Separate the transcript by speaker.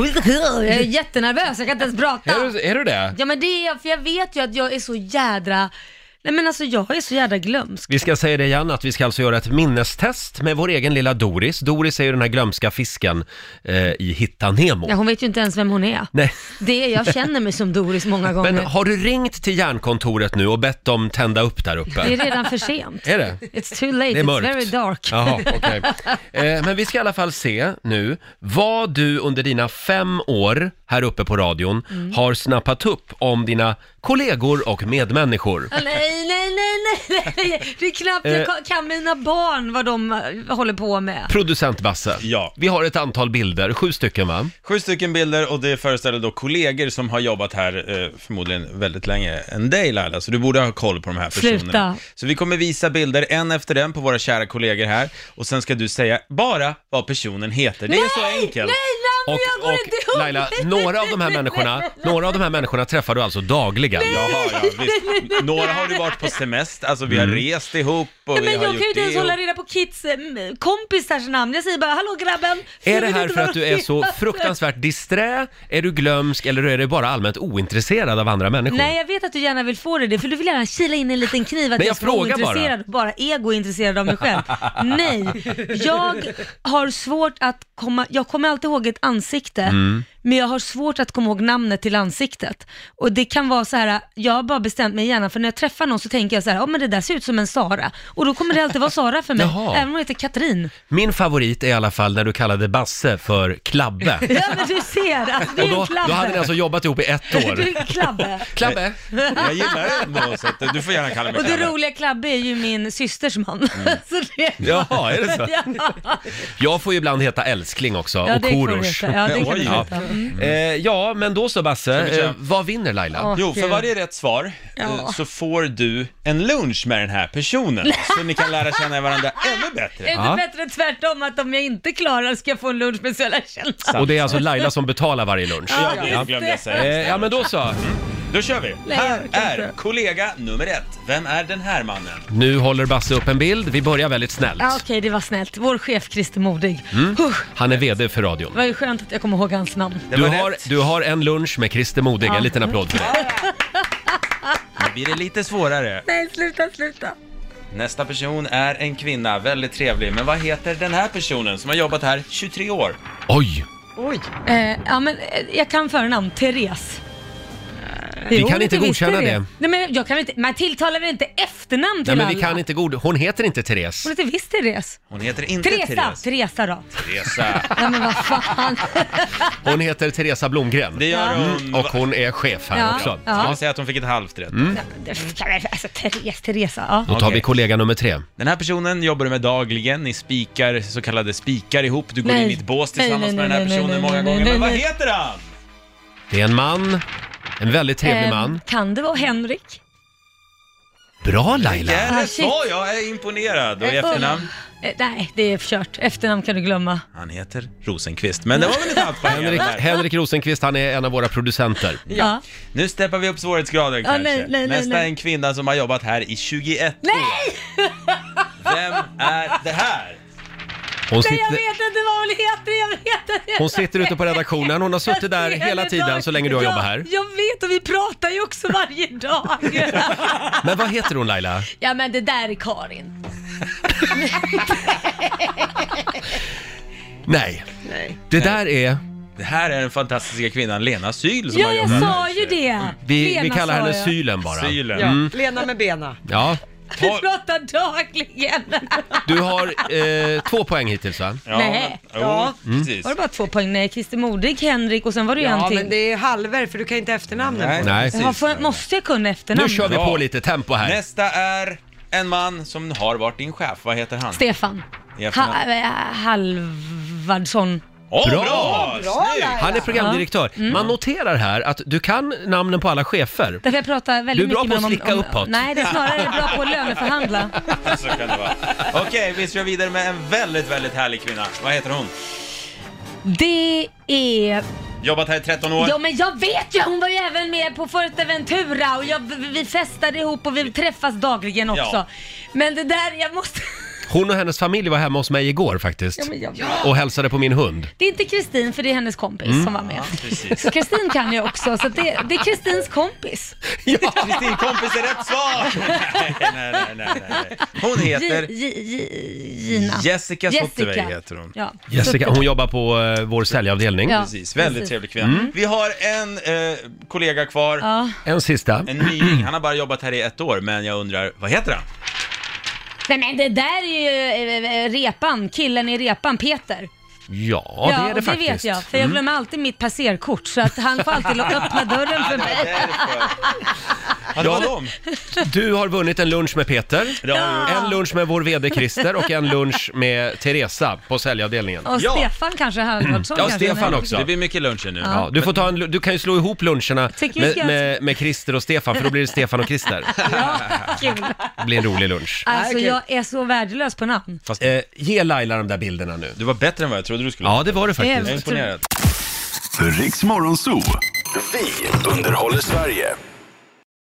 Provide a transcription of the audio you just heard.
Speaker 1: Jag är jättenervös, jag kan inte ens prata.
Speaker 2: Är du, är du det?
Speaker 1: Ja men det är jag, för jag vet ju att jag är så jädra, nej men alltså jag är så jädra glömsk.
Speaker 2: Vi ska säga det igen, att vi ska alltså göra ett minnestest med vår egen lilla Doris. Doris är ju den här glömska fisken eh, i Hitta Nemo.
Speaker 1: Ja, hon vet ju inte ens vem hon är.
Speaker 2: Nej.
Speaker 1: Det är, jag känner mig som Doris många gånger.
Speaker 2: Men har du ringt till järnkontoret nu och bett dem tända upp där
Speaker 1: Det är
Speaker 2: uppe?
Speaker 1: redan för sent.
Speaker 2: Är det?
Speaker 1: It's too late,
Speaker 2: Det är
Speaker 1: it's
Speaker 2: mörkt.
Speaker 1: very dark.
Speaker 2: Jaha, okej. Eh, men vi ska i alla fall se nu vad du under dina fem år här uppe på radion
Speaker 1: Mm.
Speaker 2: har snappat upp om dina kollegor och medmänniskor.
Speaker 1: Ah, Nej, nej, nej, nej, nej, det är knappt
Speaker 2: Eh.
Speaker 1: jag ka- kan mina barn vad de eh, håller på med.
Speaker 2: Producent Basse,
Speaker 3: Ja.
Speaker 2: vi har ett antal bilder, sju stycken va?
Speaker 3: Sju stycken bilder och det föreställer då kollegor som har jobbat här eh, förmodligen väldigt länge än dig Laila, så du borde ha koll på de här personerna.
Speaker 1: Sluta.
Speaker 3: Så vi kommer visa bilder en efter en på våra kära kollegor här och sen ska du säga bara vad personen heter. Det är så enkelt.
Speaker 1: Nej, Lambo, jag går inte ihop!
Speaker 2: Laila, några av de här människorna, några av de här människorna träffar du alltså dagligen.
Speaker 3: Jaha, ja, visst. Några har du varit på semester, alltså vi har rest ihop och
Speaker 1: Nej,
Speaker 3: vi
Speaker 1: men jag
Speaker 3: har
Speaker 1: kan ju
Speaker 3: gjort
Speaker 1: inte ens
Speaker 3: det.
Speaker 1: hålla
Speaker 3: Och...
Speaker 1: reda på kids eh, kompisars namn. Jag säger bara hallå grabben.
Speaker 2: Är
Speaker 1: Jag
Speaker 2: det
Speaker 1: vet
Speaker 2: här
Speaker 1: inte
Speaker 2: för
Speaker 1: vad
Speaker 2: att
Speaker 1: de
Speaker 2: du är så
Speaker 1: heter.
Speaker 2: fruktansvärt disträ? Är du glömsk eller är du bara allmänt ointresserad av andra människor?
Speaker 1: Nej, jag vet att du gärna vill få det, för du vill gärna kila in en liten kniv att
Speaker 2: Nej, jag
Speaker 1: jag, ska vara
Speaker 2: frågar bara.
Speaker 1: ointresserad och bara egointresserad av mig själv. Nej, jag har svårt att komma, jag kommer alltid ihåg ett ansikte,
Speaker 2: Mm.
Speaker 1: men jag har svårt att komma ihåg namnet till ansiktet. Och det kan vara så här, jag har bara bestämt mig gärna för när jag träffar någon så tänker jag så här, ja men det där ser ut som en Sara. Och då kommer det alltid vara Sara för mig,
Speaker 2: Jaha.
Speaker 1: även om jag heter Katrin.
Speaker 2: Min favorit är i alla fall när du kallade Basse för Klabbe.
Speaker 1: Ja men du ser, alltså, det
Speaker 2: Och
Speaker 1: är en
Speaker 2: då, då hade ni
Speaker 1: klabbe.
Speaker 2: alltså jobbat ihop i ett
Speaker 1: Du
Speaker 2: år.
Speaker 1: är en klabbe.
Speaker 2: Klabbe!
Speaker 3: Jag gillar det ändå, så att du får gärna kalla mig
Speaker 1: Och det
Speaker 3: Kalle.
Speaker 1: roliga Klabbe är ju min systers man.
Speaker 2: Mm.
Speaker 1: så det...
Speaker 2: Jaha, är det så?
Speaker 1: Ja.
Speaker 2: Jag får ju ibland heta älskling också,
Speaker 1: Ja,
Speaker 2: och
Speaker 1: det kan du
Speaker 2: Korosh.
Speaker 1: veta. Ja, det kan du
Speaker 3: Oj.
Speaker 1: veta. Mm.
Speaker 2: Eh, ja, men då så Basse,
Speaker 3: vi köra?
Speaker 2: eh, vad vinner Laila?
Speaker 1: Ja.
Speaker 3: Jo, för
Speaker 1: Gud.
Speaker 3: varje rätt svar eh,
Speaker 1: Ja.
Speaker 3: så får du en lunch med den här personen, så ni kan lära känna varandra ännu
Speaker 1: Är det
Speaker 3: bättre.
Speaker 1: inte bättre tvärtom att om jag inte klarar ska jag få en lunch med så jag känslor?
Speaker 2: Och det är alltså Laila som betalar varje lunch.
Speaker 3: Ja, det glömde jag
Speaker 2: Eh,
Speaker 3: säga.
Speaker 2: ja, men då så.
Speaker 3: Då kör vi!
Speaker 1: Nej, jag
Speaker 3: här
Speaker 1: orkar
Speaker 3: är
Speaker 1: inte.
Speaker 3: kollega nummer ett. Vem är den här mannen?
Speaker 2: Nu håller Basse upp en bild. Vi börjar väldigt snällt.
Speaker 1: Ja, Okej, det var snällt. Vår chef Christer Modig.
Speaker 2: Mm.
Speaker 1: Usch,
Speaker 2: Han är VD för
Speaker 1: det
Speaker 2: radion.
Speaker 1: var ju skönt att jag kommer ihåg hans namn.
Speaker 3: Det
Speaker 2: Du
Speaker 3: var
Speaker 2: har,
Speaker 3: rätt.
Speaker 2: du har en lunch med Christer Modig. En liten applåd för
Speaker 1: Mm.
Speaker 2: det.
Speaker 3: Nu blir det lite svårare.
Speaker 1: Nej, sluta, sluta.
Speaker 3: Nästa person är en kvinna, väldigt trevlig. Men vad heter den här personen som har jobbat här 23 år?
Speaker 2: Oj!
Speaker 1: Oj. Eh, ja, men eh, jag kan förnamn. Therese. Vi
Speaker 2: Eh, kan inte godkänna det.
Speaker 1: Nej, men jag kan inte, man tilltalar väl inte efternamn till
Speaker 2: Nej, men vi
Speaker 1: alla?
Speaker 2: kan inte god... Hon heter inte Therese.
Speaker 1: Hon heter visst Therese.
Speaker 3: Hon heter inte
Speaker 1: Teresa, Teresa,
Speaker 3: Therese.
Speaker 1: då.
Speaker 3: Teresa.
Speaker 1: Ja, men vad fan.
Speaker 2: Hon heter Teresa Blomgren.
Speaker 3: Det gör hon.
Speaker 2: Och hon är chef här
Speaker 1: Ja,
Speaker 2: också.
Speaker 1: Mm, ja. Mm.
Speaker 3: Ska vi säga att hon fick ett halvt rätt?
Speaker 1: Alltså, Therese, Teresa. Ja.
Speaker 2: Då tar vi
Speaker 3: Okej.
Speaker 2: kollega nummer tre.
Speaker 3: Den här personen jobbar du med dagligen, ni spikar så kallade spikar ihop, du går
Speaker 1: Nej.
Speaker 3: in i ett bås
Speaker 1: Nej,
Speaker 3: tillsammans
Speaker 1: nej,
Speaker 3: med den här
Speaker 1: nej, nej,
Speaker 3: personen
Speaker 1: nej,
Speaker 3: många
Speaker 1: nej,
Speaker 3: gånger.
Speaker 1: nej,
Speaker 3: Men vad
Speaker 1: nej.
Speaker 3: heter han?
Speaker 2: Det är en man. En väldigt trevlig
Speaker 1: Ehm,
Speaker 2: man.
Speaker 1: Kan det vara Henrik?
Speaker 2: Bra Laila!
Speaker 3: Ja,
Speaker 1: Ah,
Speaker 3: det
Speaker 1: shit.
Speaker 3: sa jag, jag är imponerad. Och i
Speaker 1: Eh,
Speaker 3: efternamn?
Speaker 1: Eh, nej, det är kört. Efternamn kan du glömma.
Speaker 3: Han heter Rosenqvist. Men det var väl ett halvt poäng i alla
Speaker 2: Henrik,
Speaker 3: fall.
Speaker 2: Henrik Rosenqvist, han är en av våra producenter.
Speaker 1: Ja.
Speaker 3: Nu steppar vi upp svårighetsgraden
Speaker 1: Ja,
Speaker 3: kanske.
Speaker 1: nej, nej, nej,
Speaker 3: Nästa
Speaker 1: nej.
Speaker 3: är en kvinna som har jobbat här i 21 år. Vem är det här?
Speaker 2: Hon
Speaker 1: Nej, jag
Speaker 2: sitter,
Speaker 1: vet inte vad hon heter. Jag vet inte.
Speaker 2: hon sitter ute på redaktionen, hon har suttit där
Speaker 1: Jag ser
Speaker 2: hela
Speaker 1: henne
Speaker 2: tiden
Speaker 1: dag-
Speaker 2: så länge du har
Speaker 1: Ja,
Speaker 2: jobbat här.
Speaker 1: Jag vet och vi pratar ju också varje dag.
Speaker 2: Men vad heter hon Laila?
Speaker 1: ja men det där är Karin.
Speaker 2: Nej. Det där är...
Speaker 3: Det här är den fantastiska kvinnan Lena Syl som
Speaker 1: Ja
Speaker 3: har
Speaker 1: jag
Speaker 3: jobbat
Speaker 1: sa
Speaker 3: här.
Speaker 1: ju det.
Speaker 2: Vi,
Speaker 1: Lena
Speaker 2: vi kallar
Speaker 1: sa
Speaker 2: henne
Speaker 1: jag.
Speaker 2: Sylen bara.
Speaker 3: Sylen.
Speaker 4: Ja, Lena med bena.
Speaker 2: Ja.
Speaker 1: Vi
Speaker 3: Ta-
Speaker 1: pratar dagligen.
Speaker 2: Du har eh, två poäng hittills va?
Speaker 3: Ja,
Speaker 1: Nej. Mm.
Speaker 3: men-
Speaker 4: Ja.
Speaker 3: Jo, precis.
Speaker 1: Var det bara två poäng? Nej, Christer Modig, Henrik och sen var det ju en
Speaker 4: Ja,
Speaker 1: till.
Speaker 4: men det är halver för du kan inte efternamnen på
Speaker 2: Nej.
Speaker 1: Jaha, får, måste jag kunna efternamn?
Speaker 2: Nu kör vi
Speaker 3: Bra.
Speaker 2: på lite tempo här.
Speaker 3: Nästa är en man som har varit din chef. Vad heter han?
Speaker 1: Stefan.
Speaker 3: I efternamn.
Speaker 1: Ha, eh, Halvardsson.
Speaker 3: Åh,
Speaker 2: Bra.
Speaker 3: bra! Snyggt!
Speaker 2: Han är
Speaker 1: Mm.
Speaker 2: programdirektör. Man noterar här att du kan namnen på alla chefer.
Speaker 1: Därför jag pratar
Speaker 2: Du är
Speaker 1: väldigt
Speaker 2: bra
Speaker 1: mycket med
Speaker 2: på att
Speaker 1: honom.
Speaker 2: slicka uppåt.
Speaker 1: Nej, det är snarare bra på att löneförhandla.
Speaker 3: Så kan det vara. Okej, vi kör vidare med en väldigt, väldigt härlig kvinna. Vad heter hon?
Speaker 1: Det är...
Speaker 3: Jobbat här i 13 år.
Speaker 1: Ja men jag vet ju, hon var ju även med på Fuerteventura och jag, vi festade ihop och vi träffas dagligen också.
Speaker 3: Ja.
Speaker 1: Men det där, jag måste...
Speaker 2: Hon och hennes familj var hemma hos mig igår faktiskt.
Speaker 1: Ja, men jag-
Speaker 2: Och hälsade på min hund.
Speaker 1: Det är inte Kristin, för det är hennes kompis
Speaker 2: Mm.
Speaker 1: som var med. Så Kristin kan ju också, så det, det är Kristins kompis.
Speaker 3: Kristin kompis är rätt svar! nej, nej, nej, nej. Hon
Speaker 1: G-
Speaker 3: heter
Speaker 1: G- G- Gina.
Speaker 3: Jessica Sottevej
Speaker 1: Jessica.
Speaker 3: heter hon.
Speaker 1: Ja.
Speaker 2: Jessica, hon jobbar på eh, vår säljavdelning.
Speaker 1: Ja.
Speaker 3: Precis, väldigt
Speaker 1: Precis.
Speaker 3: trevlig kvinna. Vi har en eh, kollega kvar,
Speaker 1: Ja.
Speaker 2: En sista.
Speaker 3: en nying. Han har bara jobbat här i ett år, men jag undrar, vad heter han?
Speaker 1: Nej men det där är ju eh, eh, repan, killen i repan, Peter.
Speaker 2: Ja, det är det
Speaker 1: och
Speaker 2: faktiskt. Mm.
Speaker 1: det vet jag, för jag glömmer alltid mitt passerkort så att han får alltid lo- öppna dörren för mig.
Speaker 3: Ja, det var dem.
Speaker 2: Du har vunnit en lunch med Peter.
Speaker 3: Ja.
Speaker 2: En lunch med vår VD Christer och en lunch med Teresa på säljavdelningen.
Speaker 1: Och
Speaker 3: Ja.
Speaker 1: Stefan kanske Halvardsson
Speaker 2: Ja,
Speaker 1: kanske,
Speaker 2: Stefan
Speaker 1: men-
Speaker 2: också.
Speaker 3: Det blir mycket luncher nu.
Speaker 2: Ja, du, får ta en, lu- du kan ju slå ihop luncherna
Speaker 1: Tekniker.
Speaker 2: med, med, med Christer och Stefan för då blir det Stefan och Christer.
Speaker 1: Ja, kul.
Speaker 2: Det blir en rolig lunch.
Speaker 4: Nej,
Speaker 1: Alltså
Speaker 4: kul.
Speaker 1: jag är så värdelös på namn.
Speaker 3: Fast
Speaker 2: Eh, ge Laila de där bilderna nu.
Speaker 3: du var bättre än vad jag trodde du skulle
Speaker 2: Ja, det var det
Speaker 3: Jag är
Speaker 2: faktiskt.
Speaker 3: imponerad.
Speaker 5: Riks Morgonzoo. Vi underhåller Sverige.